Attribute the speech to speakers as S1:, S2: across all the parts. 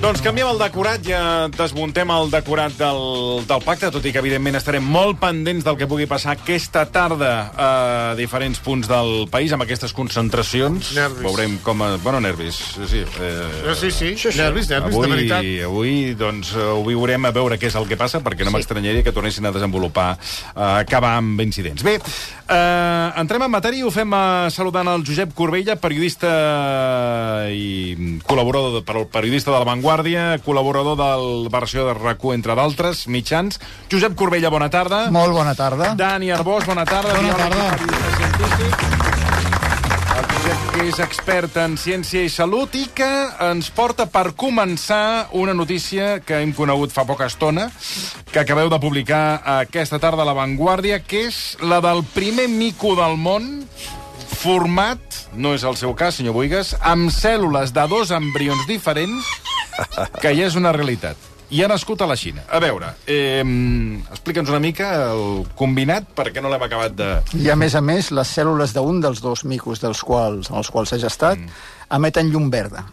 S1: Doncs canviem el decorat, ja desmuntem el decorat del, del pacte, tot i que, evidentment, estarem molt pendents del que pugui passar aquesta tarda a diferents punts del país, amb aquestes concentracions.
S2: Nervis.
S1: Veurem com... Es... Bueno, nervis, sí. Eh,
S2: No, sí, sí, nervis, nervis, de
S1: avui,
S2: veritat.
S1: avui doncs, eh, ho viurem a veure què és el que passa, perquè no m'estranyaria que tornessin a desenvolupar, eh, acabar amb incidents. Bé, eh, entrem en matèria i ho fem eh, saludant el Josep Corbella, periodista i col·laborador, de, per- periodista de La Vanguardia, col·laborador del versió de rac entre d'altres mitjans. Josep Corbella, bona tarda.
S3: Molt bona tarda.
S1: Dani Arbós, bona tarda.
S3: Bona
S1: biòleg i
S3: tarda.
S1: periodista científic. El Josep, que és expert en ciència i salut i que ens porta per començar una notícia que hem conegut fa poca estona, que acabeu de publicar aquesta tarda a La Vanguardia, que és la del primer mico del món format, no és el seu cas, senyor Boigas, amb cèl·lules de dos embrions diferents, que ja és una realitat. I ha nascut a la Xina. A veure, eh, explica'ns una mica el combinat, perquè no l'hem acabat de...
S3: I, a més a més, les cèl·lules d'un dels dos micos dels quals, en els quals s'ha gestat
S1: Mm.
S3: emeten llum verda.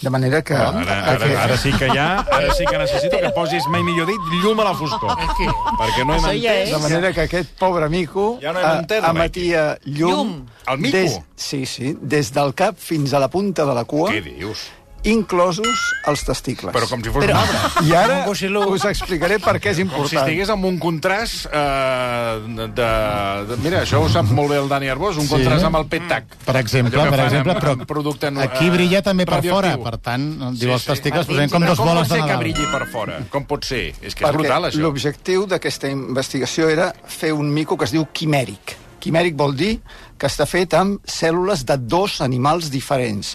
S3: De manera que...
S1: Ah,
S3: aquest-
S1: sí que ja, ara sí que necessito que posis mai millor dit llum a la foscor. Aquí. Perquè no hem
S4: Això ja
S3: De manera que aquest pobre mico
S1: Ja no hem
S3: eh,
S1: entès,
S3: emetia llum...
S4: Llum.
S1: El mico?
S3: Des, sí, sí, des del cap fins a la punta de la cua,
S1: Què dius?
S3: inclosos els testicles.
S1: Però com si fos Però... un arbre.
S3: I ara us explicaré per què
S1: Com
S3: és
S1: si
S3: important.
S1: estigués amb un contrast eh, de, de... Mira, això ho sap molt bé el Dani Arbós, un sí. Mm. contrast amb el pet-tac.
S5: Per exemple,
S1: Allò que
S5: per
S1: fan
S5: exemple,
S1: amb-
S5: però
S1: amb producte, eh,
S5: aquí brilla també per fora,
S1: radioactiu.
S5: per tant, diu els testicles,
S1: Per dins,
S5: posem com
S1: però
S5: dos boles
S1: Com
S5: de
S1: pot ser que
S5: Nadal.
S1: brilli per fora? Com pot ser? És que és
S3: Perquè
S1: brutal, això.
S3: L'objectiu d'aquesta investigació era fer un mico que es diu quimèric. Quimèric vol dir que està fet amb cèl·lules de dos animals diferents.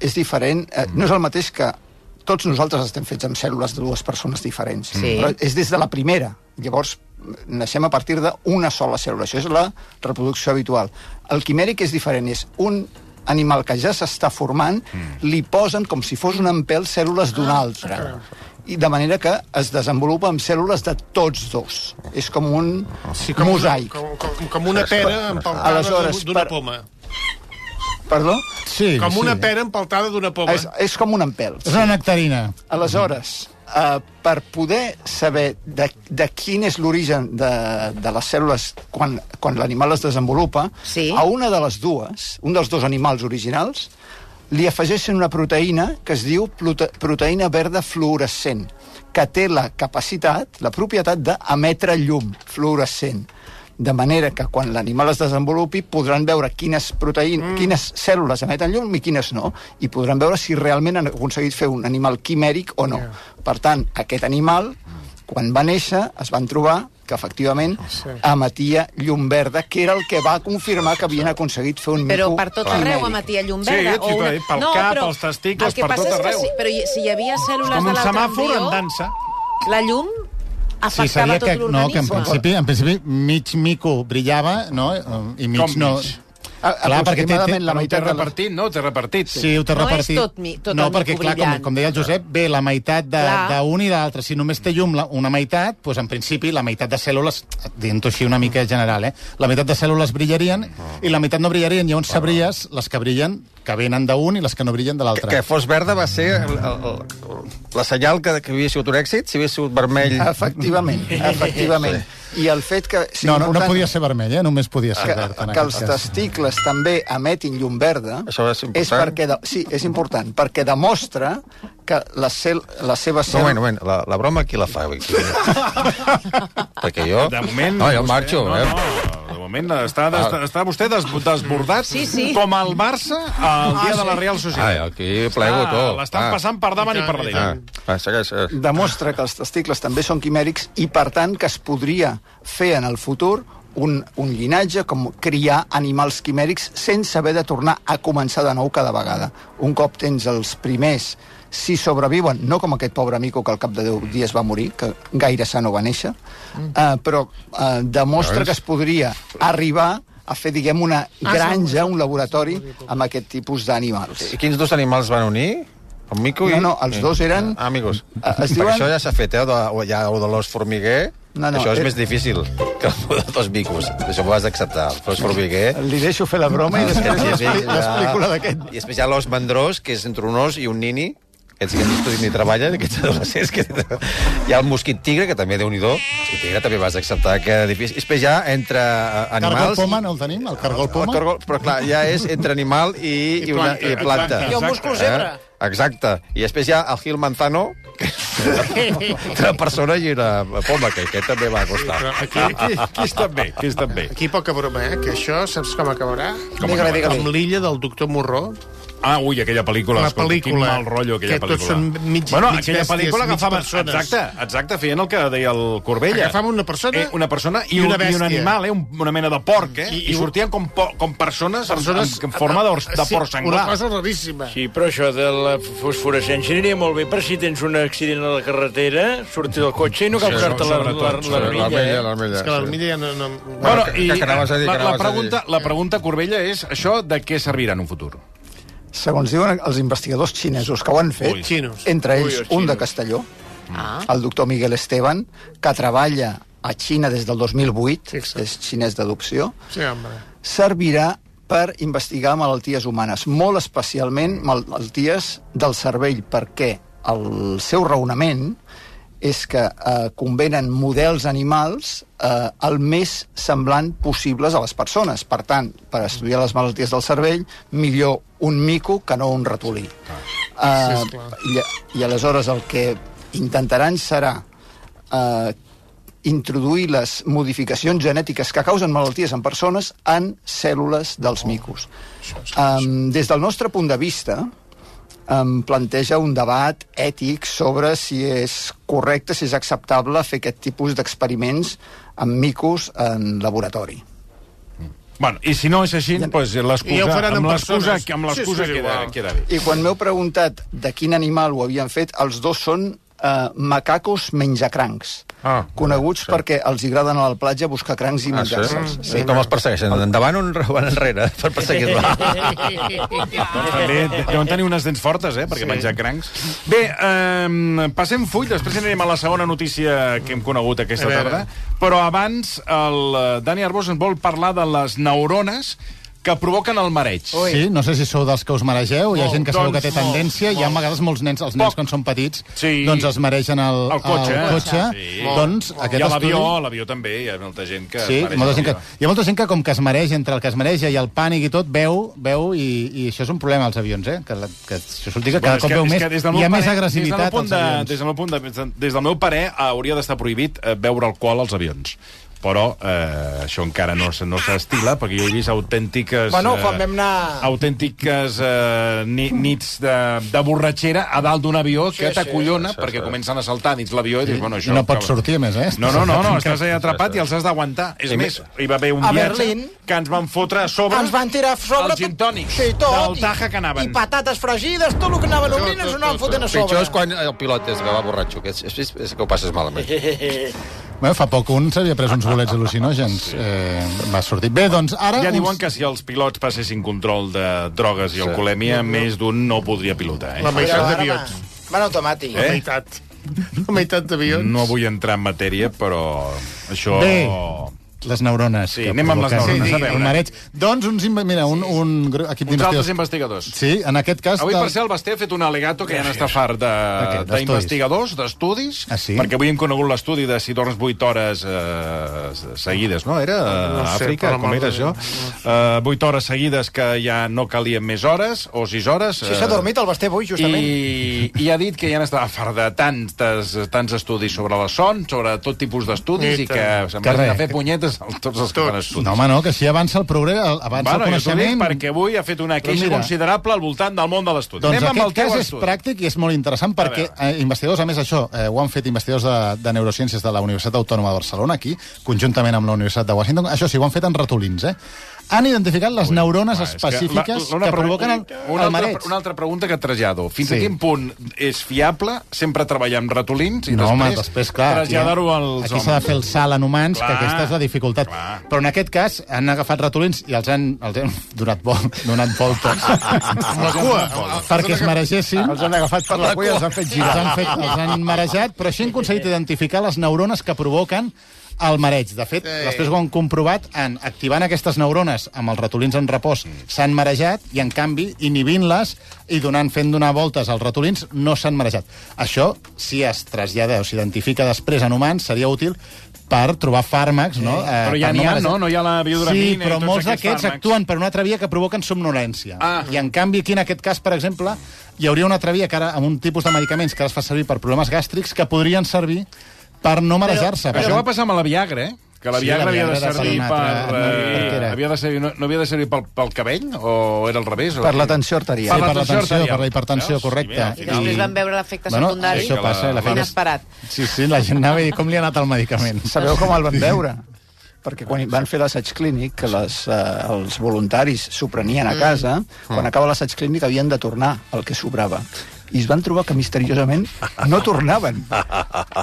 S3: És diferent, eh,
S1: Mm.
S3: no és el mateix que tots nosaltres estem fets amb cèl·lules de dues persones diferents,
S4: Sí.
S3: però és des de la primera. Llavors, naixem a partir d'una sola cèl·lula. Això és la reproducció habitual. El quimèric és diferent, és un animal que ja s'està formant, mm. li posen com si fos un empèl cèl·lules d'un altre. I de manera que es desenvolupa amb cèl·lules de tots dos. És com un sí, com mosaic.
S2: Com, com, com una pera empaltada
S3: Aleshores,
S2: d'una
S3: per-
S2: poma.
S3: Perdó?
S5: Sí,
S2: Com una
S5: sí.
S2: pera empaltada d'una poma.
S3: És, és com un empèl.
S5: És una nectarina.
S3: Aleshores, eh, per poder saber de, de quin és l'origen de, de les cèl·lules quan, quan l'animal es desenvolupa,
S4: Sí.
S3: a una de les dues, un dels dos animals originals, li afegeixen una proteïna que es diu prote proteïna verda fluorescent, que té la capacitat, la propietat d'emetre llum fluorescent. De manera que quan l'animal es desenvolupi podran veure quines, proteïn, mm. quines cèl·lules emeten llum i quines no, i podran veure si realment han aconseguit fer un animal quimèric o no. Yeah. Per tant, aquest animal, quan va néixer, es van trobar que efectivament emetia llum verda, que era el que va confirmar que havien aconseguit fer un
S4: Però
S3: mico
S4: per tot arreu
S3: quimèric.
S4: emetia llum
S1: Sí,
S4: verda.
S1: sí, clar, pel cap, als testicles,
S4: el que
S1: per
S4: passa
S1: tot
S4: és que
S1: arreu.
S4: Si, però hi- si hi havia cèl·lules
S1: Com
S4: de
S1: un
S4: l'altre
S1: semàfor
S4: embrió,
S1: en dansa.
S4: la llum
S5: Sí,
S4: afectava
S5: seria
S4: tot
S5: que, no, que en
S4: l'organisme.
S5: principi, en principi mig mico brillava, no? I mig
S1: Com
S5: no...
S1: mig?
S3: A-
S5: Clar, perquè té, té,
S3: aproximadament la
S1: Però ho
S3: meitat
S1: t'he
S3: de la...
S1: repartit, no? T'he repartit.
S5: Sí, ho té
S4: No és
S5: repartit.
S4: tot mi- tot
S5: no,
S4: el
S5: perquè,
S4: mico
S5: clar, com,
S4: brillant.
S5: com deia el Josep, ve la meitat de-
S4: Clar.
S5: d'un i de l'altre. Si només té llum la, una meitat, doncs en principi la meitat de cèl·lules, dient-ho així una mica general, eh? la meitat de cèl·lules brillarien i la meitat no brillarien. Llavors sabries les que brillen, que venen d'un i les que no brillen de l'altre.
S6: Que fos verda va ser el, el, el, la senyal que, que havia sigut un èxit, si havia sigut vermell...
S3: Ah, Efectivament, efectivament. I el fet que... sigui
S5: No, no, no
S3: important
S5: podia ser vermell, eh? només podia ser
S3: que,
S5: verd. en
S3: que els
S5: aquest cas.
S3: testicles també emetin llum verda
S6: Això és important.
S3: és perquè de, sí, és important, perquè demostra que la, cel, la seva
S6: No,
S3: cel...
S6: bueno, bueno, la, la broma qui la fa? Qui... perquè jo...
S1: De moment...
S6: No, jo
S1: vostè-
S6: marxo,
S1: no,
S6: eh?
S1: No, de moment està, des,
S6: Ah.
S1: està vostè des, desbordat
S4: Sí, sí. Ah,
S1: com el Barça al dia de la Real
S6: Ai,
S1: Societat. Ah,
S6: aquí Ah, plego tot.
S1: L'estan passant per davant i per
S6: Ah,
S1: darrere.
S6: va, segueix, segueix.
S3: demostra que els testicles també són quimèrics i, per tant, que es podria fer en el futur un, un llinatge, com criar animals quimèrics sense haver de tornar a començar de nou cada vegada. Un cop tens els primers, si sobreviuen, no com aquest pobre mico que al cap de 10 dies va morir, que gaire sa no va néixer, eh, però eh, demostra que es podria arribar a fer, diguem, una granja, un laboratori amb aquest tipus d'animals.
S6: I quins dos animals van unir? El mico i...
S3: No, no, els dos eren-
S6: Ah, amigos.
S3: Ah, es
S6: Perquè
S3: diuen-
S6: Això ja s'ha fet, eh? o De, o ja, o de l'os formiguer.
S3: No, no,
S6: això és
S3: eh-
S6: més difícil que el de dos micos. Això ho has d'acceptar. L'os formiguer...
S3: Li deixo fer la broma i després
S6: Ah, Sí, sí,
S3: l'expli-
S6: ja-
S3: l'explico la d'aquest
S6: I després hi ha l'os mandrós, que és entre un os i un nini, Aquests que no estudien ni treballen, aquests adolescents... Que... Hi ha el mosquit tigre, que també, déu nhi mosquit tigre també vas acceptar que era difícil. És que ja entre eh,
S5: Cargol
S6: animals...
S5: poma, no el tenim? El cargol
S6: El
S5: poma?
S6: cargol, però clar, ja és entre animal i,
S2: I
S6: i, una,
S2: planta,
S6: i planta.
S2: exacte.
S4: I el múscul zebra.
S6: Eh? Exacte. I després hi ha el Gil Manzano, que entre una persona i una poma, que aquest també va costar.
S1: Ah.
S2: Aquí, aquí,
S1: Qui està bé, qui està bé.
S2: aquí poca broma, eh? Que això, saps com acabarà?
S1: Com Digue-li, acabarà? digue-li.
S2: Amb l'illa del doctor Morró.
S1: Ah, ui, aquella pel·lícula.
S2: La
S1: escolta,
S2: pel·lícula,
S1: Quin mal rotllo, aquella
S2: que tots
S1: pel·lícula.
S2: són mig-
S1: bueno,
S2: mig
S1: aquella
S2: bèsties,
S1: pel·lícula
S2: mig
S1: agafava...
S2: persones.
S1: Exacte, exacte, feien el que deia el Corbella.
S2: Agafava una persona
S1: eh, una persona i,
S2: i
S1: un, i
S2: una
S1: un
S2: bèstia.
S1: animal, eh, un, una mena de porc, eh? I, i,
S2: I-
S1: sortien com, po, com persones, persones
S2: Persones... Ah,
S1: en, en forma de, de porc senglar.
S2: Una cosa raríssima.
S7: Sí, però això de la fosforescència aniria molt bé per si tens un accident a la carretera, sortir del cotxe i no cal posar-te la, la, la, la, eh?
S6: l'armilla.
S2: És que l'armilla ja no... no...
S1: Bueno,
S6: que-
S1: i
S6: que anaves a dir, que
S1: la, la,
S6: anaves a dir.
S1: pregunta, la pregunta, Corbella, és això de què servirà en un futur?
S3: Segons diuen els investigadors xinesos que ho han fet,
S2: Ui. Xinos.
S3: entre ells
S7: Ui, els
S3: un de
S7: xinos.
S3: Castelló,
S4: Ah.
S3: el doctor Miguel Esteban, que treballa a Xina des del 2008,
S2: Fixa't.
S3: és xinès d'adopció,
S2: Sí, home.
S3: servirà per investigar malalties humanes, molt especialment malalties del cervell, perquè el seu raonament és que eh, convenen models animals eh, el més semblant possibles a les persones. Per tant, per estudiar les malalties del cervell, millor un mico que no un ratolí. Eh,
S2: Sí, esclar.
S3: i, I aleshores el que intentaran serà eh, introduir les modificacions genètiques que causen malalties en persones en cèl·lules
S6: Oh,
S3: dels micos. Um, des del nostre punt de vista, em planteja un debat ètic sobre si és correcte, si és acceptable fer aquest tipus d'experiments amb micos en laboratori.
S1: Bueno, i si no és així, ja, doncs l'excusa...
S2: Ja ho faran
S1: amb
S2: amb
S1: l'excusa
S2: persones.
S1: que amb
S2: Sí,
S1: l'excusa sí,
S2: sí, és
S1: queda,
S2: igual.
S1: queda bé.
S3: I quan m'heu preguntat de quin animal ho havien fet, els dos són eh, macacos menjacrancs,
S1: Ah,
S3: coneguts perquè els agraden a la platja buscar crancs i
S6: Ah, sí?
S3: menjar-se'ls.
S6: sí. Com els persegueixen? Endavant o en- enrere? eh, Per perseguir-la.
S1: Doncs també deuen tenir unes dents fortes, eh, perquè sí. menjar crancs. Bé, eh, passem full, després anirem a la segona notícia que hem conegut aquesta
S2: A veure.
S1: tarda, però abans el eh, Dani Arbós ens vol parlar de les neurones que provoquen el mareig.
S5: Sí, no sé si sou dels que us maregeu, hi ha
S1: Molt,
S5: gent que sabeu
S1: doncs,
S5: que té
S1: molt,
S5: tendència, hi ha a vegades molts nens, els nens
S1: Poc.
S5: quan són petits,
S1: Sí.
S5: doncs es maregen al
S1: Al cotxe, eh?
S5: Al cotxe.
S1: Sí. I
S5: Doncs aquest
S1: a l'avió,
S5: estudi...
S1: a l'avió també, hi ha molta gent que...
S5: Sí,
S1: es mareja
S5: molta gent
S1: a
S5: que,
S1: l'avió.
S5: hi ha molta gent que com que es mareja entre el que es mareja i el pànic i tot, veu, veu i, i això és un problema als avions, eh? Que, la, que això s'ho dic, que cada
S1: és
S5: cop
S1: que-
S5: veu
S1: és
S5: més,
S1: que des del
S5: hi
S1: meu
S5: ha més
S1: parer-
S5: agressivitat
S1: des del meu punt
S5: als avions.
S1: De, des, del meu punt de, des del- des del meu parer eh, hauria d'estar prohibit eh, beure alcohol als avions però eh, això encara no, se- no s'estila, perquè jo he vist autèntiques... eh,
S8: Bueno, quan vam anar-
S1: Autèntiques eh, ni, nits de, de borratxera a dalt d'un avió que t'acollona, perquè comencen a saltar dins l'avió i dius, bueno,
S5: I
S1: això...
S5: no pots sortir, a més, eh?
S1: No, no, no, no, estàs allà atrapat i els has d'aguantar. És
S6: I
S1: més, hi va haver un
S8: a
S1: viatge
S8: Berlín
S1: que ens van fotre a sobre...
S8: Ens van tirar a sobre...
S1: Els gin tònics.
S8: Sí, tot.
S1: Del
S8: i-
S1: Taja que anaven.
S8: I patates fregides, tot el que anaven obrint ens ho anaven fotent a sobre.
S6: Pitjor és quan el pilot és que va borratxo, que és, és, és que ho passes malament.
S5: Bueno, fa poc un s'havia pres uns bolets al·lucinògens. Eh, va sortir. Bé, doncs ara...
S1: Ja diuen
S5: uns-
S1: que si els pilots passessin control de drogues i alcoholèmia, més d'un no podria pilotar. Eh?
S2: La
S8: Però
S2: meitat
S8: ara
S2: d'avions.
S8: van- Van automàtic.
S3: Eh,
S2: La meitat. La meitat d'avions.
S1: eh? No vull entrar en matèria, però això...
S5: Bé. Les neurones.
S1: Sí,
S5: que
S1: anem amb les
S5: provoquen
S1: neurones, a veure.
S5: el mareig. Doncs uns, inve- mira, un, un gru- equip
S1: Uns altres investigadors.
S5: d'investigadors... Sí, en aquest cas...
S1: Avui,
S5: del-
S1: per ser, el Basté ha fet un al·legato que ja n'està fart de-
S5: d'estudis.
S1: d'investigadors, d'estudis,
S5: Ah, sí?
S1: perquè avui hem conegut l'estudi de si dorms 8 hores eh, seguides, no? Era eh,
S2: No sé,
S1: Àfrica,
S2: per la
S1: com
S2: mort
S1: era
S2: de
S1: això? Eh, 8 hores seguides que ja no calien més hores, o 6 hores...
S8: Si s'ha
S1: eh,
S8: dormit el Basté avui, justament.
S1: I, I ha dit que ja n'estava fart de tants, tants estudis sobre la son, sobre tot tipus d'estudis, i
S2: I
S1: que
S2: tant.
S1: se'n
S5: Que
S1: van a
S5: res.
S1: fer punyetes a tots els que fan estudis.
S5: No, home, no, que si avança el progrés, el- avança
S1: Bueno,
S5: el
S1: jo t'ho dic
S5: coneixement...
S1: perquè avui ha fet una queixa
S5: mira,
S1: considerable al voltant del món de l'estudi.
S5: Doncs
S1: Anem amb el
S5: aquest
S1: teu
S5: cas és
S1: estudi.
S5: pràctic i és molt interessant perquè eh, investigadors, a més això, eh, ho han fet investigadors de, de neurociències de la Universitat Autònoma de Barcelona, aquí, conjuntament amb la Universitat de Washington, això sí, ho han fet en ratolins, eh? Han identificat les neurones
S1: Clar, Ah, és que
S5: específiques
S1: la-
S5: que, provoquen el,
S1: una
S5: el
S1: altra,
S5: mareig.
S1: una altra pregunta que et trasllado. Fins sí. a
S5: Sí.
S1: quin punt és fiable sempre treballar amb ratolins i
S5: No, home,
S1: després,
S5: després, clar, aquí,
S1: traslladar-ho als
S5: aquí s'ha de fer el salt en humans,
S1: Clar,
S5: que aquesta és la dificultat.
S1: clar.
S5: Però en aquest cas han agafat ratolins i els han, els han donat, vol, donat voltes.
S2: Amb la cua.
S5: perquè es maregessin. Els han agafat per la cua i els han fet girar. Els han, fet, els han marejat, però així han aconseguit identificar les neurones que provoquen al mareig. De fet,
S2: Sí.
S5: sí. després ho han comprovat en activant aquestes neurones amb els ratolins en repòs s'han marejat i, en canvi, inhibint-les i donant fent donar voltes als ratolins no s'han marejat. Això, si es trasllada o s'identifica després en humans, seria útil per trobar fàrmacs, no? Eh,
S1: Però ja
S5: per
S1: n'hi ha,
S5: marejar.
S1: no? No hi ha la biodramina
S5: Sí,
S1: i
S5: però
S1: tots
S5: molts
S1: aquests
S5: d'aquests
S1: fàrmacs.
S5: actuen per una altra via que provoquen somnolència.
S1: Ah.
S5: I, en canvi, aquí, en aquest cas, per exemple, hi hauria una altra via que ara, amb un tipus de medicaments que ara es fa servir per problemes gàstrics que podrien servir per no marejar-se. Per
S1: Això
S5: tant,
S1: va passar amb la Viagra, eh? Que la
S5: Sí,
S1: Viagra,
S5: la
S1: havia de
S5: Viagra de
S1: servir
S5: Salonat,
S1: per...
S5: eh,
S1: eh,
S5: per què era?
S1: havia de servir, no, no havia de servir pel, pel cabell? O era al revés? O...
S3: Per la tensió arterial.
S5: Sí, per la
S1: tensió
S5: tensió,
S1: arterial.
S5: per la hipertensió,
S1: Veus? I
S5: correcte.
S1: mira, Ah, al
S4: I
S1: final-
S4: després van veure l'efecte
S5: Bueno,
S4: secundari.
S5: això passa, la feina és-
S4: Inesperat.
S5: Sí, sí, la gent anava i com li ha anat el medicament.
S3: Sabeu com el van veure? Perquè quan van fer l'assaig clínic, que les, eh, els voluntaris s'ho prenien
S6: Mm.
S3: a casa,
S6: Ah.
S3: quan acaba l'assaig clínic havien de tornar el que sobrava. I es van trobar que misteriosament no tornaven.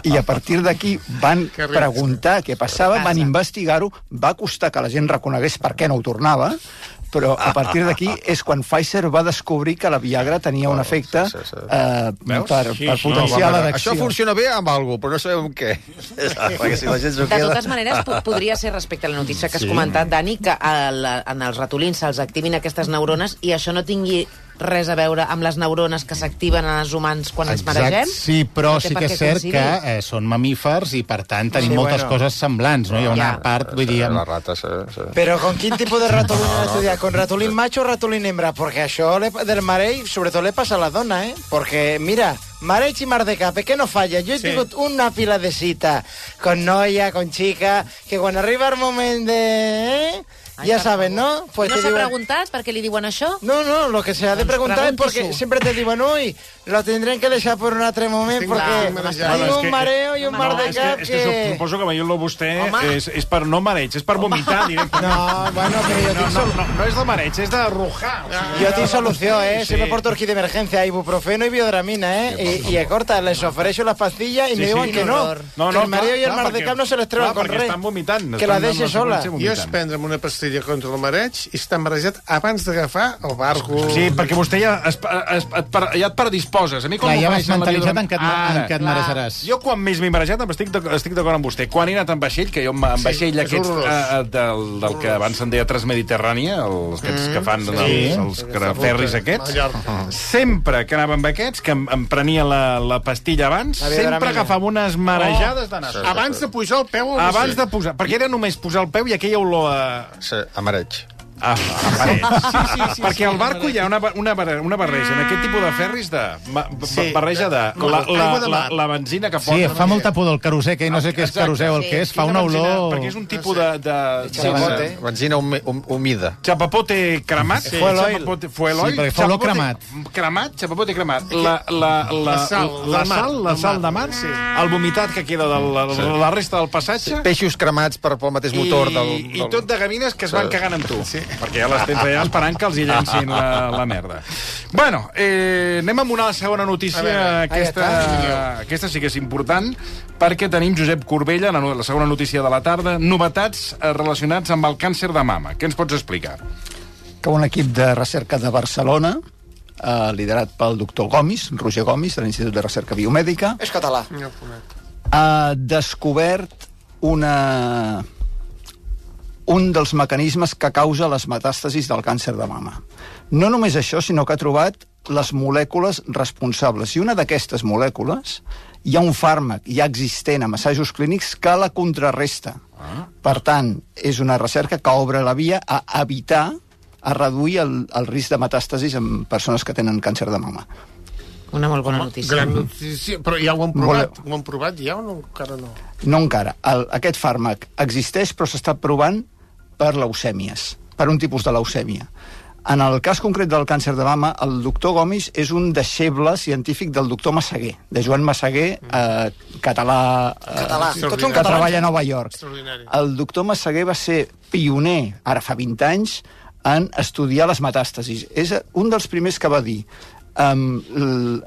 S3: I a partir d'aquí van preguntar què passava, van investigar-ho, va costar que la gent reconegués per què no ho tornava, però a partir d'aquí és quan Pfizer va descobrir que la Viagra tenia un efecte
S6: sí, sí.
S3: eh, per, per potenciar la
S6: Això
S3: detecció.
S6: funciona bé amb algú, però no sabem amb què. Perquè si la gent s'ho
S4: De
S6: queda...
S4: totes maneres, po- podria ser respecte a la notícia que has comentat, Dani, que a la- en els ratolins se'ls activin aquestes neurones i això no tingui res a veure amb les neurones que s'activen en els humans quan ens maregem?
S5: Sí, però
S4: No té
S5: sí
S4: per
S5: que
S4: què
S5: és cert
S4: coincidir.
S5: que eh, són mamífers i, per tant, tenim
S8: Sí,
S5: sí, moltes
S8: bueno.
S5: bueno. coses semblants, no? Hi ha una
S4: Ja.
S5: part, vull dir...
S6: La
S5: Amb...
S6: rata, sí, sí.
S8: Pero ¿con qué tipo de ratolín han estudiado? ¿Con ratolín macho o ratolín hembra? Porque a això le- del marell, sobre todo le pasa a la dona, ¿eh? Porque, mira, marell y mar de cape, que no falla. Yo he tingut una pila de cita con noia, con chica, que cuando arriba el momento de... ¿eh?
S4: Ai,
S8: Ya
S4: per
S8: saben,
S4: favor.
S8: ¿no? Pues
S4: no
S8: te
S4: s'ha
S8: diuen-
S4: preguntat per què li diuen això?
S8: No, no, lo que se ha de
S4: Doncs
S8: preguntar es porque
S4: pregunti-s'ho.
S8: siempre te "Oh, digo, uy, lo tendrán que dejar por un otro momento
S2: Estic
S8: porque
S2: marejat.
S8: tengo
S1: Home, és que-
S8: un mareo y un
S4: home,
S8: mar
S4: no,
S8: de
S1: És que,
S8: cap
S1: és que
S8: que...
S1: suposo que veient-lo a vostè
S4: Home.
S1: és, és per no mareig, és per vomitar directament.
S8: No, bueno, pero yo
S1: No,
S8: tinc
S1: no,
S8: sol-
S1: no, no és de mareig, és de rujar. O sigui,
S8: Jo tinc solució, eh? Sí. Sempre porto aquí d'emergència, ibuprofeno i biodramina, eh? I, i corta, les ofereixo les pastillas i sí, me diuen
S1: sí.
S8: que no.
S1: No, no,
S8: que el mareo
S1: clar,
S8: i el
S1: clar,
S8: mar de
S1: perquè-
S8: cap no se les treuen
S1: clar,
S8: con
S1: perquè
S8: res.
S1: estan vomitant,
S8: Que la
S1: estan
S8: deixi
S1: amb la
S8: sola.
S1: seqüència
S2: Jo és prendre'm una pastilla contra el mareig i estar marejat abans d'agafar el barco.
S1: Sí, perquè vostè ja, es, es, et, per, ja et predisposes. A mi quan
S5: Clar,
S1: m'ho
S5: ja
S1: faig
S5: vas
S1: en la
S5: mentalitzat
S1: vida-
S5: en què et, ma-
S1: Ara,
S5: en què et
S1: clar.
S5: marejaràs.
S1: Jo quan més m'he marejat em estic d'ac- estic d'acord amb vostè. Quan he anat en vaixell, que jo en, en vaixell
S2: és
S1: aquest
S2: horrorós.
S1: eh, eh, del, del que abans se'n deia Transmediterrània, els aquests que fan els, els ferris aquests,
S2: Mallorca.
S1: sempre que anava amb aquests, que em, em prenia la, la pastilla abans,
S8: La biodramina.
S1: sempre agafava unes marejades de nas.
S2: Abans de pujar el peu... al
S1: Oh. Abans
S2: vaixell.
S1: de posar... Perquè era només posar el peu i aquella olor a,
S6: Sí, a mareig.
S1: Ah, sí, sí, sí, sí, perquè al barco hi ha una, ba- una, barre- una barreja, en aquest tipus de ferris, de ma- ba-
S2: Sí.
S1: barreja de la, la,
S2: Aigua de
S1: la,
S2: mar.
S1: la benzina que
S5: Sí,
S1: posen.
S5: fa molta pudor el carosè, que no sé què és
S1: Ah, Exacte.
S5: caroseu, el
S4: Sí,
S5: que és, fa
S1: Quina
S5: una
S1: benzina?
S5: olor...
S1: Perquè és un tipus de... de, de
S8: Xapote.
S6: Sí, Benzina hum, hum, humida.
S1: xapapote cremat. Sí.
S8: Fuel oil.
S1: Xapapote, fuel
S5: Sí,
S1: oil.
S5: perquè fa olor
S1: xapapote
S5: cremat.
S1: Cremat, xapapote cremat. La, la, la,
S2: La sal de
S1: la
S2: mar.
S1: sal, la
S2: De
S1: sal
S2: mar.
S1: de mar, sí. el vomitat que queda de la, la resta del passatge.
S6: Peixos cremats per, pel mateix motor
S1: I,
S6: del...
S1: I tot de gavines que es van cagant amb tu. Sí. Perquè ja les tens allà esperant que els hi llencin la, la merda. Bueno, eh, anem amb una segona notícia.
S2: veure,
S1: aquesta, aquesta sí que és important, perquè tenim Josep Corbella, la, no- la segona notícia de la tarda, novetats eh, relacionats amb el càncer de mama. Què ens pots explicar?
S3: que un equip de recerca de Barcelona, eh, liderat pel doctor Gomis, Roger Gomis, de l'Institut de Recerca Biomèdica,
S8: És català.
S2: No conec.
S3: ha descobert una un dels mecanismes que causa les metàstasis del càncer de mama. No només això, sinó que ha trobat les molècules responsables. I una d'aquestes molècules hi ha un fàrmac ja existent amb assajos clínics que la contrarresta. Ah. Per tant, és una recerca que obre la via a evitar, a reduir el, el risc de metàstasis en persones que tenen càncer de mama.
S4: Una molt bona notícia.
S2: Ah, Gran notícia, però ja ho han provat, ho han provat ja o no? encara no?
S3: No encara. El, aquest fàrmac existeix, però s'està provant per leucèmies, per un tipus de leucèmia. En el cas concret del càncer de mama, el doctor Gomis és un deixeble científic del doctor Massaguer, de Joan Massaguer, eh, català... Eh,
S8: Català. Tots són
S3: que
S8: catalans.
S3: treballa a Nova York.
S2: Extraordinari.
S3: El doctor Massaguer va ser pioner, ara fa 20 anys, en estudiar les metàstasis. És un dels primers que va dir Um,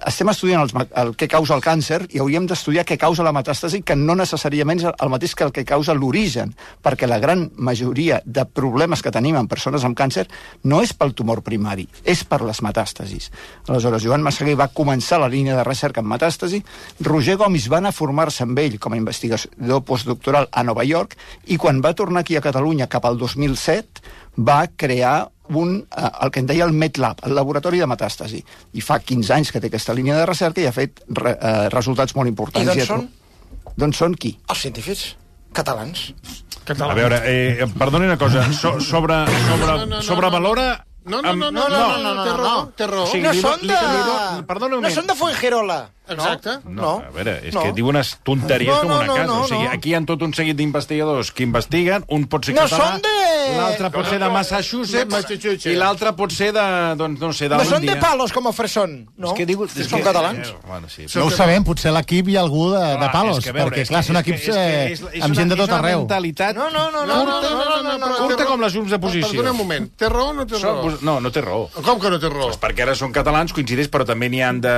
S3: estem estudiant els, ma- el que causa el càncer i hauríem d'estudiar què causa la metàstasi que no necessàriament és el- el mateix que el que causa l'origen, perquè la gran majoria de problemes que tenim en persones amb càncer no és pel tumor primari, és per les metàstasis. Aleshores, Joan Massaguer va començar la línia de recerca en metàstasi, Roger Gomis va anar a formar-se amb ell com a investigador postdoctoral a Nova York i quan va tornar aquí a Catalunya cap al 2007 va crear un, eh, el que en deia el MedLab, el laboratori de metàstasi. I fa 15 anys que té aquesta línia de recerca i ha fet re, eh, resultats molt importants.
S8: I d'on
S3: ha tro-
S8: són?
S3: D'on són qui?
S8: Els científics catalans.
S1: A veure, eh, perdoni una cosa, so, sobre, sobre,
S2: no, no, no.
S1: sobrevalora...
S2: No, no,
S1: amb-
S2: no, no, no, no, no, no, té raó, té raó.
S1: O sigui,
S8: No
S1: li do-
S8: són
S1: li-
S8: de...
S1: li do- Perdona un
S8: No
S1: moment.
S8: són de Fuengirola.
S2: Exacte.
S1: No, a veure, és que diu unes tonteries
S8: No,
S1: com
S8: no,
S1: una
S8: no,
S1: casa.
S8: no,
S1: o sigui,
S8: no.
S1: aquí hi ha tot un seguit d'investigadors que investiguen, un pot ser
S8: No
S1: català,
S8: són de-
S1: l'altre pot ser de
S2: De
S1: Massachusetts,
S2: Massachusetts.
S1: i l'altre pot ser de, doncs, no sé,
S8: No són
S1: d'Albània.
S8: de palos com a Fresson, no?
S1: És que diu... és
S8: Són
S1: que-
S8: catalans.
S1: Eh, Bueno, sí.
S5: No ho sabem, potser a l'equip hi ha algú de, de palos,
S1: és que a veure,
S5: perquè
S1: és
S5: clar,
S1: que-
S5: són
S1: és que-
S5: equips
S1: és que
S5: eh,
S1: és la- és
S5: amb
S1: una-
S5: gent de tot
S1: és una
S5: arreu.
S1: mentalitat
S8: No, no, no, no, no,
S1: curta,
S8: no, no, no, no,
S1: curta
S2: però-
S1: com les llums de posició.
S2: Perdona un moment, té raó o no té
S1: Són-
S2: raó?
S1: vos- No, no té raó. Doncs
S2: Com que no té raó?
S1: Perquè ara són catalans, coincideix, però també n'hi han de...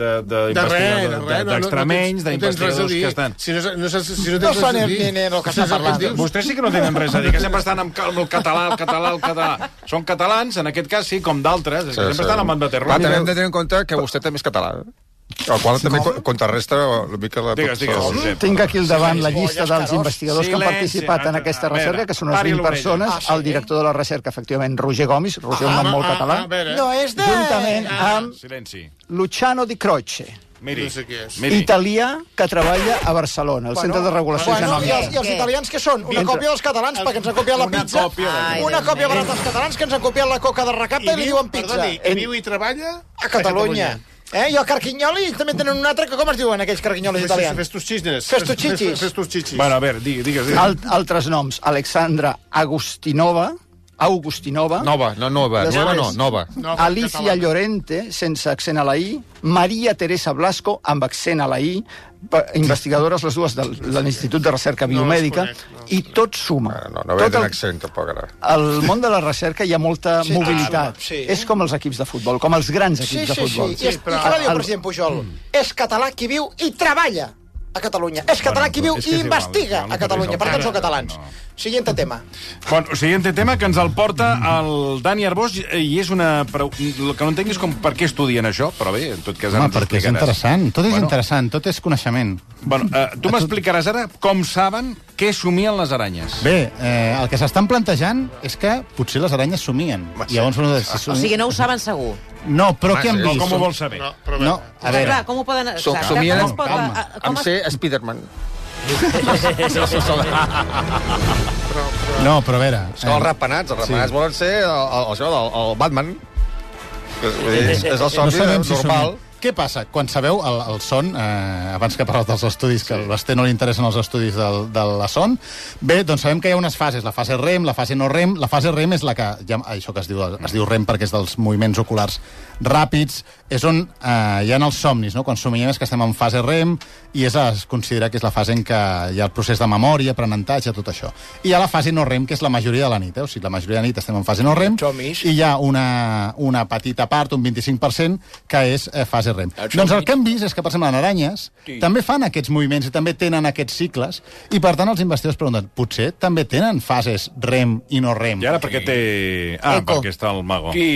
S1: de, de,
S2: De res, de
S1: investigadors,
S2: res. no- no-
S1: d'extremenys,
S2: no tens- no tens res a
S1: d'investigadors
S2: dir.
S1: que estan...
S2: Si no, no, saps- si no,
S8: No
S2: tens res
S8: són
S2: a
S8: el
S2: dir,
S8: dinero el que
S2: no saps
S8: està
S2: el
S8: parlant.
S2: dius.
S1: Vostès sí que no tenen res a dir, que sempre estan amb, amb el català, el català, el català. Són catalans, en aquest cas sí, com d'altres, és que sempre estan amb el de
S6: Va,
S1: terror.
S6: també hem de tenir en compte que vostè també és català. eh? El qual també co- contrarresta una mica la...
S1: Digues, digues,
S6: Sí.
S1: Josep.
S3: Tinc aquí al davant la llista dels investigadors que han
S1: Silenci,
S3: participat en
S1: Anna,
S3: aquesta
S1: a veure,
S3: recerca, que són unes
S1: pari
S3: 20
S1: l'orella.
S3: persones.
S1: Ah,
S3: El director de la recerca, efectivament, Roger Gomis, Roger, un nom molt
S2: Ah,
S3: català,
S2: A
S1: eh.
S2: veure,
S8: No, és de... Ah,
S3: juntament amb
S1: Silenci.
S3: Luciano Di Croce,
S1: Miri,
S2: No sé qui és.
S1: miri.
S3: italià que treballa a Barcelona, al Centre de Regulació
S8: Bueno, i els,
S3: Genòmica.
S8: i els
S4: Què?
S8: italians què són? Una
S3: Dintre.
S8: còpia dels catalans, perquè ens han copiat la
S1: Una
S8: pizza.
S1: còpia de-
S4: Ai,
S8: una
S4: Déu
S8: còpia
S4: meu.
S8: barata dels catalans, que ens han copiat la coca de recapta i, li diuen pizza.
S2: Perdoni,
S8: En-
S2: i viu i treballa?
S8: a Catalunya. Eh? I el carquinyoli també tenen un altre, que com es diuen aquells carquinyolis
S2: Fes-
S8: italians?
S2: Fes tus xisnes.
S8: Festuchichis.
S2: Fes- fes- Fes tus xisnes.
S1: Bueno, a veure, digues, digues. digues.
S3: Al, altres noms, Alexandra Agustinova, Augustinova,
S6: Nova, no nova,
S3: Les
S6: nova no,
S3: noves.
S6: nova.
S2: Nova,
S3: Alicia
S2: catalana.
S3: Llorente, sense accent a la I, Maria Teresa Blasco, amb accent a la I, pa- investigadores les dues del, de l'Institut de Recerca Biomèdica,
S2: conec, no els
S3: i tot suma.
S1: Ah,
S6: No, no ve
S3: tot
S6: d'un
S3: el,
S6: accent, tampoc, ara.
S3: al món de la recerca hi ha molta sí,
S8: ah,
S3: mobilitat.
S8: sí.
S3: És com els equips de futbol, com els grans
S8: Sí,
S3: equips
S8: sí,
S3: de
S8: sí.
S3: futbol.
S8: I, és,
S2: però-
S8: i què va dir
S3: Al-
S8: el president Pujol? És català qui viu i treballa a Catalunya. És català
S1: Bueno,
S8: qui viu
S1: és que
S8: i
S1: és igual, és
S8: investiga
S1: igual,
S8: a Catalunya. Per tant, són catalans.
S1: No.
S8: Siguiente tema.
S1: Bueno, siguiente tema que ens el porta el Dani Arbós eh, i és una... preu- El que no entenc és com per què estudien això, però bé, en tot cas ara
S5: Home,
S1: ens ho
S5: perquè és
S1: explicaràs.
S5: interessant, tot és
S1: Bueno.
S5: interessant, tot és coneixement.
S1: Bueno, eh, tu m'explicaràs ara com saben què somien les aranyes.
S5: Bé, eh, el que s'estan plantejant és que potser les aranyes somien. I llavors, bueno, si som...
S4: O sigui, no ho saben segur.
S5: no, però què hem
S6: sí,
S5: vist?
S1: Com ho vols saber?
S2: No, però a
S5: No,
S2: veure.
S5: a
S4: Clar,
S5: veure,
S4: com ho poden...
S6: Som,
S4: Clar,
S6: somien
S4: com
S6: amb,
S4: es pot-
S5: calma.
S4: a- a- com
S6: amb
S4: es-
S6: ser Spiderman.
S5: no, però a veure... eh,
S6: Són els ratpenats, els ratpenats volen ser el, el, el, el, el Batman. És, és el
S5: no
S6: somni
S5: sabem si
S6: normal.
S5: eh, normal. Què passa? Quan sabeu el, el son, eh, abans que parlat dels estudis, que al Basté no li interessen els estudis del, de la son, bé, doncs sabem que hi ha unes fases, la fase REM, la fase no REM, la fase REM és la que, ja, això que es diu, es diu REM perquè és dels moviments oculars ràpids, és on eh, hi ha els somnis, no? quan somiem és que estem en fase REM i és, es considera que és la fase en què eh, hi ha el procés de memòria, aprenentatge, tot això. I hi ha la fase no REM, que és la majoria de la nit, eh? o sigui, la majoria de la nit estem en fase no REM,
S7: Somnis.
S5: i hi ha una, una petita part, un 25%, que és eh, fase REM.
S7: Absolutament.
S5: Doncs el que hem vist és que, per exemple, en aranyes
S7: Sí.
S5: també fan aquests moviments i també tenen aquests cicles, i per tant els investigadors pregunten, potser també tenen fases REM i no REM.
S1: I ara per què té... Ah,
S5: Eco.
S1: perquè està el mago.
S7: Qui?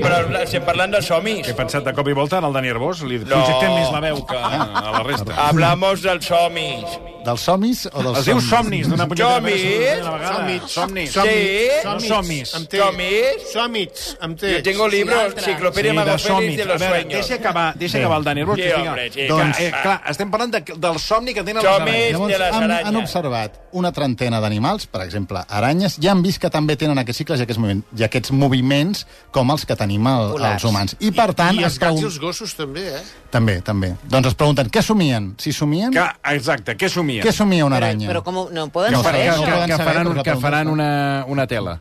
S1: Val.
S7: Però estem parlant de somis.
S1: He pensat de cop i volta en el Dani Arbós, li no.
S7: No.
S1: projectem més la veu que a la resta.
S7: Hablamos dels somis.
S5: Dels somis o dels
S1: Es diu somnis, d'una punyetera
S7: Somnis.
S1: Somnis. Somnis.
S7: Som-
S1: Sí.
S7: Sí.
S1: No somis.
S2: Amb T.
S7: Somis.
S2: Somis, amb T.
S7: Yo tengo libros,
S4: l'altre.
S7: Ciclopedia
S1: Sí, de
S7: Magofèlis
S1: somnis.
S7: de
S1: A
S7: los
S1: veure,
S7: sueños.
S1: deixa acabar, deixa acabar el Dani Arbós.
S7: Sí,
S1: que fica-
S7: home, sí,
S1: que,
S7: doncs-
S1: eh, clar, estem parlant de, del somni que tenen les
S7: Somnis.
S1: aranyes.
S7: Llavors, de les
S5: han,
S7: aranyes.
S5: han observat una trentena d'animals, per exemple, aranyes, ja han vist que també tenen aquests cicles i aquests, moviments, i aquests moviments com els que tenim el,
S4: Polars.
S5: els humans. I, per tant,
S2: I els
S5: es
S2: gats i
S5: pregun-
S2: els gossos, també, eh?
S5: també, també. Doncs es pregunten, què somien? Si somien,
S1: Que, exacte, què somia?
S5: què somia una
S4: Però,
S5: aranya?
S4: però com ho- no ho poden
S5: No,
S1: que,
S5: perquè-
S4: saber?
S1: que,
S4: això?
S1: que,
S5: poden
S1: que
S5: saber,
S1: faran,
S5: però
S1: un,
S5: la
S1: que
S5: pregunta
S1: faran
S5: està.
S1: una, una tela.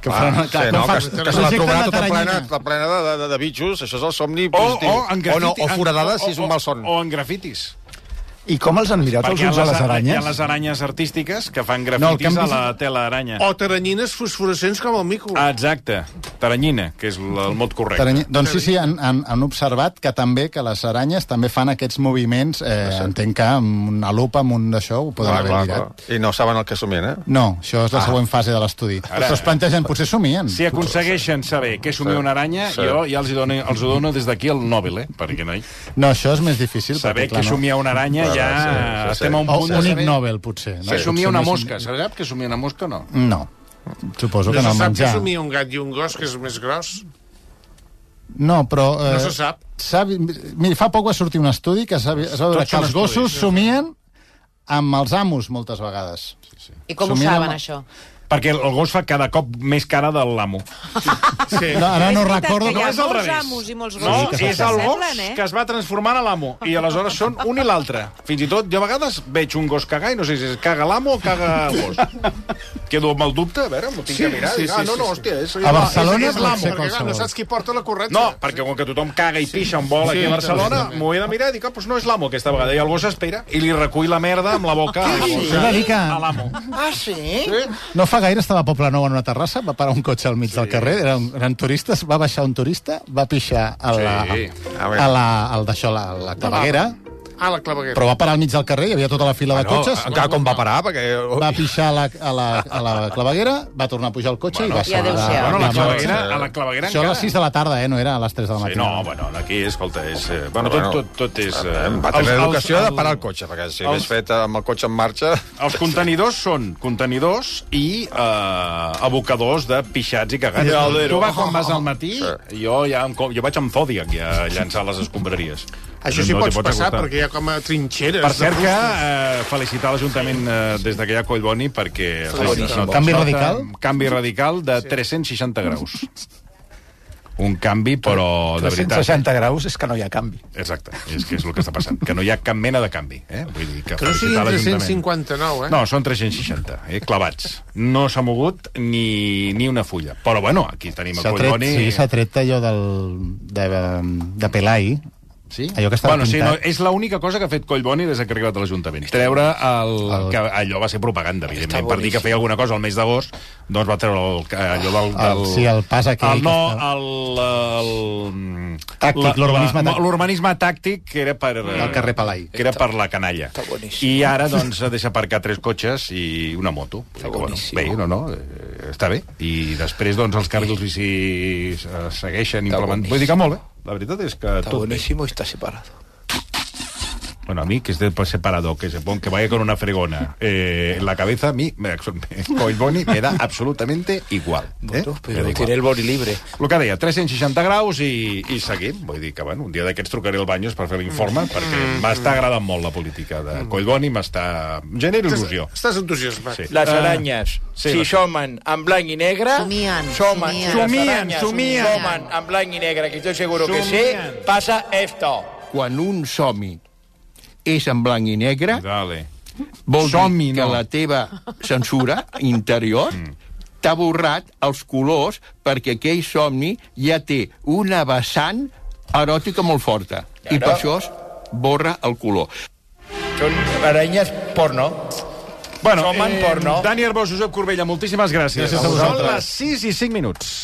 S5: Que faran,
S6: Ah, sí, no,
S5: com
S6: que,
S5: fan-
S6: que se la
S5: projecten
S6: trobarà tota
S5: taranyina.
S6: plena, tota plena de, de, de bitxos, això és el somni
S1: O,
S6: positiu.
S1: o, en grafiti,
S6: o no, o
S1: en-
S6: foradada,
S1: o-
S6: si és un malson.
S1: O, o en grafitis.
S3: I com els han mirat els
S1: Perquè hi ha
S3: ulls a les
S1: Hi ha
S3: aranyes?
S1: les aranyes artístiques que fan
S5: No, el
S1: grafitis
S5: que hem
S1: no,
S5: vist-
S1: a la tela d'aranya.
S2: O taranyines fosforescents com el mico.
S1: Ah, exacte. Taranyina, que és l- el mot correcte.
S5: Tarany... Doncs sí, sí, han, han, han observat que també que les aranyes també fan aquests moviments, eh, entenc que amb una lupa, amb un d'això, ho
S6: Ah,
S5: poden haver mirat.
S6: I no saben el que somien, eh?
S5: No, això és la següent fase de l'estudi.
S1: Ara-
S5: Però es plantegen, potser somien.
S1: Si aconsegueixen saber què somia una aranya,
S6: Sí.
S1: jo ja els, hi dono, els ho dono des d'aquí el Nobel, eh? Perquè, noi,
S5: No, això és més difícil.
S1: saber
S5: perquè,
S1: què
S5: clar, no.
S1: somia una aranya
S6: Clar,
S1: ja
S6: sí, sí,
S1: estem a un
S5: O
S1: punt
S5: Oh, un
S1: de
S5: Ig
S1: saber
S5: Nobel, potser.
S1: què somia
S5: Potser
S1: una
S5: més-
S1: mosca. Sabeu que somia una mosca o no?
S5: No. Suposo que
S2: no
S5: no,
S2: se sap
S5: menjar.
S2: que somia un gat i un gos, que és més gros.
S5: No, però... Eh,
S2: No se sap.
S5: s'ha vi- Mira, fa poc va sortir un estudi que s'ha vi- es va veure
S1: Tots
S5: que
S1: són
S5: els
S1: estudis,
S5: gossos somien amb els amos moltes vegades.
S4: I com ho
S5: Somien
S4: saben,
S5: amb-
S4: això?
S1: Perquè el gos fa cada cop més cara de l'amo.
S2: Sí.
S5: No, ara no
S9: És veritat
S5: recordo...
S9: que hi
S1: No
S9: ha
S1: és al
S9: molts
S1: revés.
S9: amos i molts
S1: No,
S9: gossos que
S1: és el gos
S9: s'assemblen, eh?
S1: que es va transformant a l'amo. I aleshores són un i l'altre. Fins i tot, jo a vegades veig un gos cagar i no sé si es caga l'amo o caga el gos. Quedo amb el dubte, a veure, m'ho tinc que mirar.
S2: sí, sí,
S1: ah, no, no,
S2: sí, sí.
S1: hòstia, és...
S5: A Barcelona
S2: és l'amo,
S5: pot ser
S2: perquè clar, no
S5: qualsevol.
S2: saps qui porta la corretja.
S1: No, perquè com que tothom caga i pixa on vol aquí a Barcelona, m'ho he de mirar i dic, ah, doncs no és l'amo aquesta vegada. I el gos espera i li recull la merda amb la boca al gos,
S5: Una mica-
S1: a l'amo.
S8: Ah, sí?
S5: No fa gaire estava a Poble Nou en una terrassa, va parar un cotxe al mig sí. del carrer, eren, eren turistes, va baixar un turista, va pixar a la,
S1: Sí.
S5: a la, a la, al d'això, la, la claveguera,
S2: Ah, la claveguera.
S5: però va parar al mig del carrer, hi havia tota la fila de cotxes,
S6: encara com va parar, perquè...
S5: va pixar a la, a la, a la claveguera, va tornar a pujar al cotxe i va
S4: I adéu-siau.
S5: la-
S1: Bueno, a la
S5: la
S1: claveguera,
S5: marxa.
S1: a la claveguera
S5: Això a les
S1: encara.
S5: 6 de la tarda, eh? no era a les 3 de la
S1: Sí,
S5: matina.
S1: no, bueno, aquí, escolta, és... eh, Bueno,
S6: Bueno,
S1: tot,
S6: bueno,
S1: tot, tot és... eh,
S6: Va
S1: els-
S6: tenir
S1: els-
S6: l'educació de
S1: el-
S6: parar el cotxe, perquè si
S1: els-
S6: l'hagués fet amb el cotxe en marxa...
S1: Els contenidors són contenidors i eh, abocadors de pixats i cagats.
S6: Ja, Aldero.
S1: tu va quan vas al matí,
S6: Sí.
S1: jo ja em, co- jo vaig amb Zodiac ja a llançar les escombraries.
S2: Això sí
S1: No t'hi
S2: pots passar,
S1: acostar.
S2: perquè hi ha com a trinxeres.
S1: Per cert
S2: de
S1: que
S2: fusta.
S1: eh, felicitar l'Ajuntament eh, des d'aquella Collboni perquè...
S5: boníssim. Canvi radical?
S1: Canvi radical de 360 graus. Un canvi, però de veritat... eh?
S3: 360 graus és que no hi ha canvi.
S1: Exacte, és que és el que està passant. Que no hi ha cap mena de canvi. Eh? Vull dir que
S2: Que no
S1: felicitar
S2: siguin
S1: l'Ajuntament.
S2: 359, eh?
S1: No, són 360, eh, clavats. No s'ha mogut ni, ni una fulla. Però bueno, aquí tenim el
S5: S'ha tret,
S1: Collboni...
S5: sí, s'ha tret allò del, de, de Pelai,
S1: Sí?
S5: Allò que estava
S1: bueno, sí, no,
S5: pintat.
S1: és l'única cosa que ha fet Collboni des que ha arribat a l'Ajuntament. Treure el,
S5: El-
S1: Que allò va ser propaganda, evidentment. Per dir que feia alguna cosa al mes d'agost, doncs va treure el, allò del... del
S5: El- sí, el pas aquell
S1: El, no,
S5: que
S1: el... el la-
S5: Tàctic, l'urbanisme
S1: la-
S5: tàctic.
S1: L'urbanisme tàctic, que era per... eh,
S5: al carrer Pelai.
S1: que era per la canalla. I ara, doncs, deixa aparcar tres cotxes i una moto. Està boníssim. Bé, no, no, eh, està bé. I després, doncs, els carrils bici eh, segueixen implementant... Vull dir que molt bé. La veritat és que tot boníssim.
S8: está separado.
S1: Bueno, a mí, que esté separado, que se ponga, que vaya con una fregona eh, en la cabeza, a mí, me, Coil Boni me da absolutamente igual. Eh? Me da igual.
S8: el body libre.
S1: El que deia, 360 graus i, i seguim. Vull dir que, bueno, un dia d'aquests trucaré al Banyos per fer
S8: Mm.
S1: l'informe, perquè m'està agradant molt la política de Collboni, m'està... em Genera il·lusió.
S2: Estàs entusiasmat.
S1: Sí.
S8: Les
S1: Ah,
S8: aranyes,
S1: sí,
S8: si
S1: les-
S8: somen en blanc i negre...
S4: Somien,
S8: somen,
S4: somien.
S8: Si les
S1: Somien,
S8: aranyes
S1: somien.
S8: somen en blanc i negre, que estoy seguro que sí,
S1: Somien.
S8: passa esto.
S10: quan un somi és en blanc i negre,
S1: Dale.
S10: vol
S1: Somi,
S10: dir que
S1: no.
S10: la teva censura interior t'ha borrat els colors perquè aquell somni ja té una vessant eròtica molt forta. I per això es borra el color.
S8: Són aranyes porno.
S1: Bueno, eh,
S8: Som en porno.
S1: Dani Arbós, Josep Corbella, moltíssimes gràcies.
S5: Gràcies a vosaltres.
S1: Són les 6 i 5 minuts.